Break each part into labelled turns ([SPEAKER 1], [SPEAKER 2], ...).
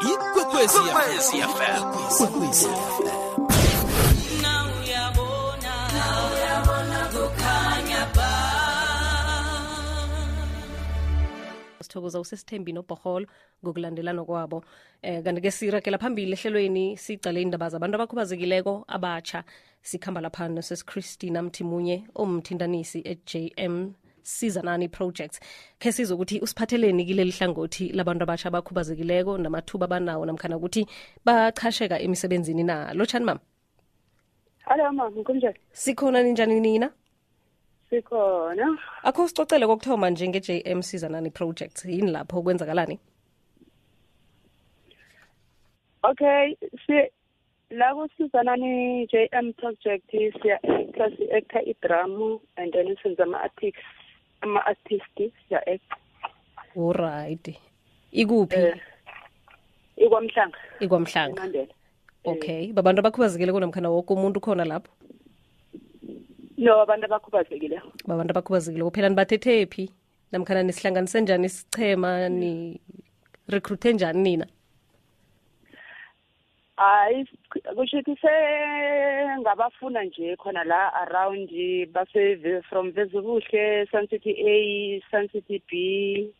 [SPEAKER 1] ikwekwezi fm Ikwekwezi FM.
[SPEAKER 2] sithokoza usesithembi nobhoholo ngokulandelana kwabo um kanti-ke sirakela phambili ehlelweni sicale indaba zabantu abakhubazekileko abatsha sikhamba lapha nosesicristina mthimunye omthintanisi e-jm sizanani project khe sizwe ukuthi usiphatheleni kileli hlangothi labantu abatsha abakhubazekileko namathuba abanawo namkhana ukuthi bachasheka emisebenzini na lotshani mama
[SPEAKER 3] Hello mama, kunjani?
[SPEAKER 2] sikhona ninjani nina
[SPEAKER 3] Sikhona.
[SPEAKER 2] akho sicocele kokuthoma njenge-jm sizanani project yini lapho kwenzakalani
[SPEAKER 3] Okay, si la kusizana ni JM project siya actor si actor idrama and then senza ama artists ama artists siya act
[SPEAKER 2] oright ikuphi
[SPEAKER 3] eh ikwamhlanga
[SPEAKER 2] ikwamhlanga
[SPEAKER 3] eMandela.
[SPEAKER 2] okay babantu abakhubazekile kunamkhana woke umuntu khona lapho
[SPEAKER 3] No abantu abakhubazekile.
[SPEAKER 2] babantu abakhubazekile kuphela nibathethe phi namkhana nisihlanganise njani isichema ni-recruite njani nina
[SPEAKER 3] Hayi kusho ukuthi se ngabafuna nje khona la around base Ve- from Vezubuhle, Sun City A, Sun City B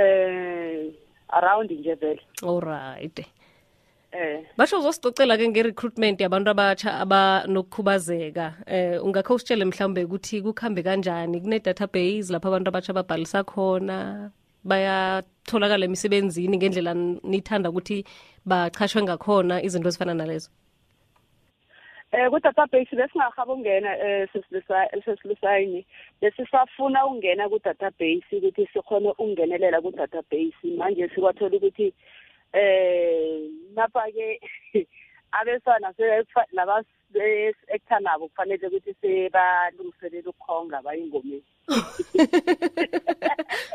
[SPEAKER 3] eh around nje vele.
[SPEAKER 2] olright
[SPEAKER 3] Eh
[SPEAKER 2] basho uzosicocela-ke nge-recruitment yabantu abatsha abanokukhubazeka eh ungakho usitshele mhlawumbe ukuthi kukuhambe kanjani kune-database lapho abantu abatsha babhalisa khona bayatholakala emisebenzini ngendlela nithanda ukuthi bachashwe ngakhona izinto ezifana nalezo
[SPEAKER 3] eh ku database besingahaba ungena eh sesilisa sesilisayini besisafuna ungena ku database ukuthi sikhone ungenelela ku database manje sikwathola ukuthi eh napha ke abesana sefa- laba actor nabo kufanele ukuthi sebalungiselele ukukhonga bayingomeni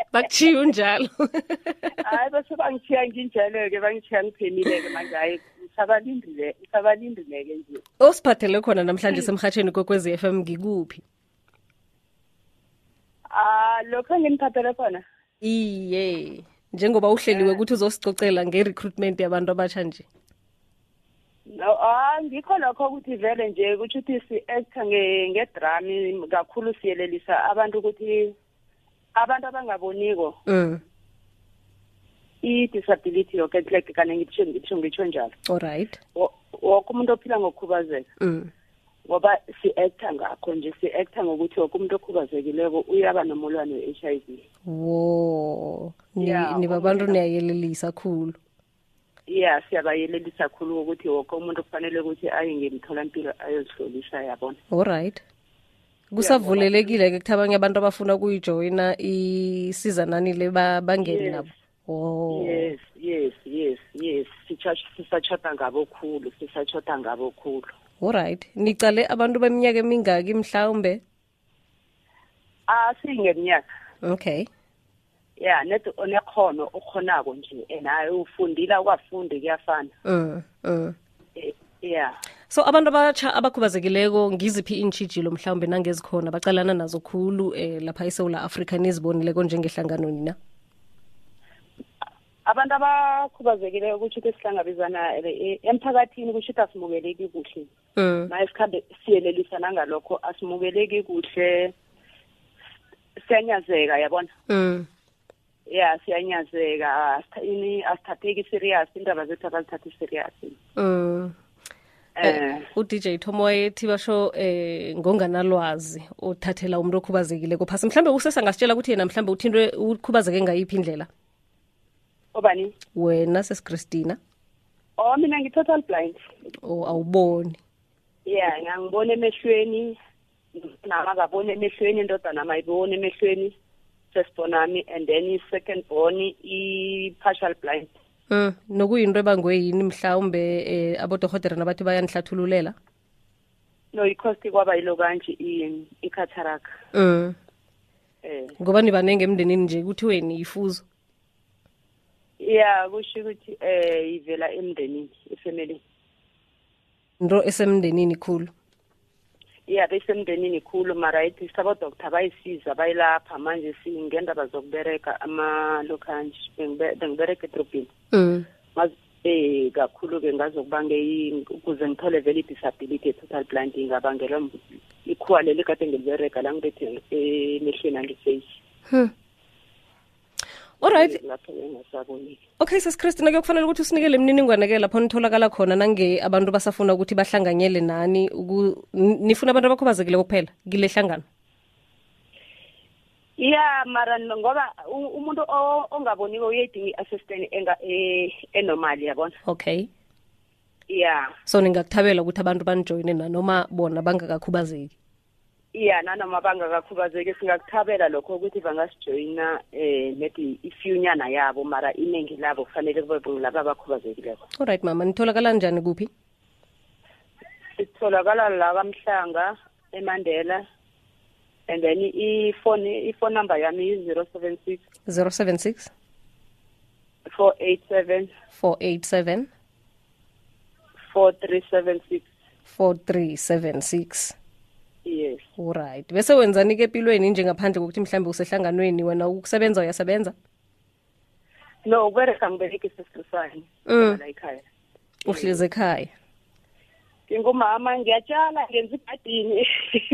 [SPEAKER 2] bakuchiye unjalo
[SPEAKER 3] hayi bese bangithiya nginjalo-ke bangithiya ngiphenile-ke manje hayi ngisabalindile ngisabalindile-ke nje
[SPEAKER 2] osiphathele khona namhlanje semhatsheni kokwezi FM ngikuphi
[SPEAKER 3] ah lokho enginiphathele khona
[SPEAKER 2] iye njengoba uhleliwe ukuthi uzosicocela nge-recruitment yabantu abatsha nje
[SPEAKER 3] No, ah ngikho lokho ukuthi vele nje kusho ukuthi si-actor nge- ngedrami kakhulu siyelelisa abantu ukuthi abantu abangaboniko
[SPEAKER 2] mm.
[SPEAKER 3] i-disability yonke like kane ngitsho ngitsho ngitsho njalo
[SPEAKER 2] alright
[SPEAKER 3] Wo- woke umuntu ophila ngokukhubazeka
[SPEAKER 2] mm.
[SPEAKER 3] ngoba si-actor ngakho nje si-actor ngokuthi woke umuntu okhubazekileko uyaba nomulwane we-h i v
[SPEAKER 2] wo Ni-
[SPEAKER 3] Yeah,
[SPEAKER 2] nibabantu
[SPEAKER 3] umlilo.
[SPEAKER 2] niyayelelisa khulu
[SPEAKER 3] ya siyabayelelisa khulu ukuthi woke umuntu kufanele ukuthi aye ngemtholampilo ayozihlolisa yabona
[SPEAKER 2] alright kusavulelekile-ke kuthi abanye abantu abafuna ukuyijoyina isizanani le ba- bangene
[SPEAKER 3] Yes.
[SPEAKER 2] nabo wo
[SPEAKER 3] yes yes yes yes sisachota ngabo khulu sisachota ngabo khulu
[SPEAKER 2] alright nicale abantu beminyaka emingaki mhlawumbe
[SPEAKER 3] ah singeminyaka
[SPEAKER 2] okay
[SPEAKER 3] ya net onekhono ukhonako nje and hayi ufundile ukwafundi kuyafana
[SPEAKER 2] mm. Mm.
[SPEAKER 3] Eh, ya
[SPEAKER 2] so abantu abatsha abakhubazekileko ngiziphi iintshijilo mhlawumbe nangezikhona bacalana nazo khulu eh, lapha esewula afrika nizibonileko njengehlangano nina
[SPEAKER 3] abantu abakhubazekile kusho ukuthi sihlangabezana eh, emphakathini kusho ukuthi asimukeleki kuhle
[SPEAKER 2] mm.
[SPEAKER 3] maye sikhambe siyelelisa nangalokho asimukeleki kuhle siyanyazeka yabona
[SPEAKER 2] Mm.
[SPEAKER 3] ya siyanyazeka asitha- ini- asithatheki serious indaba zethu abazithathi serious
[SPEAKER 2] Mm.
[SPEAKER 3] Eh,
[SPEAKER 2] udj tomoyethi basho eh ngonganalwazi othathela umuntu okhubazekileko phasi mhlawumbe usesangasitshela ukuthi yena mhlawumbe uthintwe ukhubazeke ngayiphi indlela
[SPEAKER 3] obani?
[SPEAKER 2] wena sesicristina
[SPEAKER 3] Oh mina ngi total blind.
[SPEAKER 2] o awuboni
[SPEAKER 3] Yeah, ngangibona emehlweni. Nama ngabona emehlweni indoda nama ibona emehlweni. First born ami and then i second born i partial blind.
[SPEAKER 2] mm. nokuyinto ebangwe yini mhlawumbe eh, abodohotera nabathi bayanihlathululela
[SPEAKER 3] No ikhosti kwaba yilo kanje i i cataract.
[SPEAKER 2] mm.
[SPEAKER 3] Eh.
[SPEAKER 2] ngoba nibanenge emndenini nje kuthiwe niyifuzo
[SPEAKER 3] Yeah, kusho ukuthi eh ivela emndenini, ifamily.
[SPEAKER 2] into esemndenini khulu
[SPEAKER 3] ya besemndenini khulu mara ithi sabodoktar bayisiza bayilapha manje singendaba zokubereka amalokhanje Bengibe- bengibereka edrobhini
[SPEAKER 2] Mm.
[SPEAKER 3] Ngaz- eh kakhulu-ke ngazokuba ngeyi- ukuze ngithole vele i-disability e-total blind ingabangelwa m- ikhuwa leli kade ngilibereka la ngibethe eh, emehlweni angifeyisi
[SPEAKER 2] Hmm. Alright.
[SPEAKER 3] lapho engasaboniki
[SPEAKER 2] Okay sis Christina kuyokufanele ukuthi usinikele imininingwane ke lapho nitholakala khona nange abantu basafuna ukuthi bahlanganyele nani uku- n- nifuna abantu abakhubazekile kuphela kule hlangano.
[SPEAKER 3] ya mara no- ngoba u- umuntu o- ongaboniko uyayidinga i-assistant enga- eh, enormal yabona
[SPEAKER 2] Okay.
[SPEAKER 3] ya
[SPEAKER 2] So ningakuthabela ukuthi abantu banijoyine nanoma bona bangakakhubazeki.
[SPEAKER 3] ya nanoma bangakakhubazeki singakuthabela lokho ukuthi bangasijoyina um maybe ifunyana yabo mara iningi labo kufanele kube bongilaba abakhubazekileko
[SPEAKER 2] Alright mama nitholakala njani kuphi?
[SPEAKER 3] sitholakala la kamhlanga emandela and then ifoni ifoni number yami yi-zero seven six
[SPEAKER 2] 076
[SPEAKER 3] four eight seven
[SPEAKER 2] 487
[SPEAKER 3] four three seven six
[SPEAKER 2] 4376.
[SPEAKER 3] yes
[SPEAKER 2] Alright. Bese wenzani ke empilweni njengaphandle kokuthi mhlambe usehlanganweni wena ukusebenza uyasebenza?
[SPEAKER 3] no ubereka ngibereki sesisane
[SPEAKER 2] Mm.
[SPEAKER 3] la ekhaya
[SPEAKER 2] Uhlezi ekhaya.
[SPEAKER 3] ngingumama ngiyatshala ngenza igadini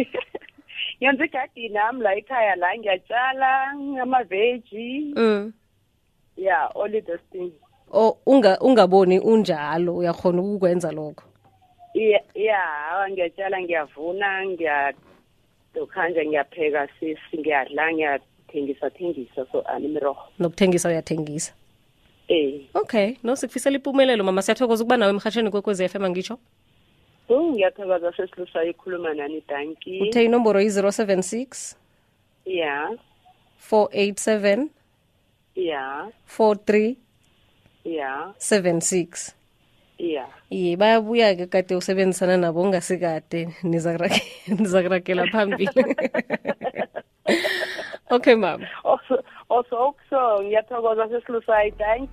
[SPEAKER 3] ngenza igadini ami la ekhaya la ngiyatshala amaveji
[SPEAKER 2] Mm.
[SPEAKER 3] ya all those things
[SPEAKER 2] o unga ungaboni unjalo uyakhona ukukwenza lokho
[SPEAKER 3] ya ya, awa ngiyatshala ngiyavuna ngiyadokhanja ngiyapheka sisi ngiyadla ngiyathengisa thengisa so animiroho
[SPEAKER 2] nokuthengisa uyathengisa
[SPEAKER 3] eh
[SPEAKER 2] okay no sikufisela impumelelo mama siyathokoza ukuba nawe emhatshweni kwekwezi f m angitsho
[SPEAKER 3] so ngiyathokoza sesilusa ikhuluma nani danki
[SPEAKER 2] uthe inomboro yi-076
[SPEAKER 3] ya
[SPEAKER 2] 487
[SPEAKER 3] ya
[SPEAKER 2] 4376
[SPEAKER 3] ya ya
[SPEAKER 2] ye bayabuya-ke kade usebenzisana nabo ungasikade nizakurake- nizakurakela phambili okay mama
[SPEAKER 3] also also so ngiyathokoza sesilusa idanki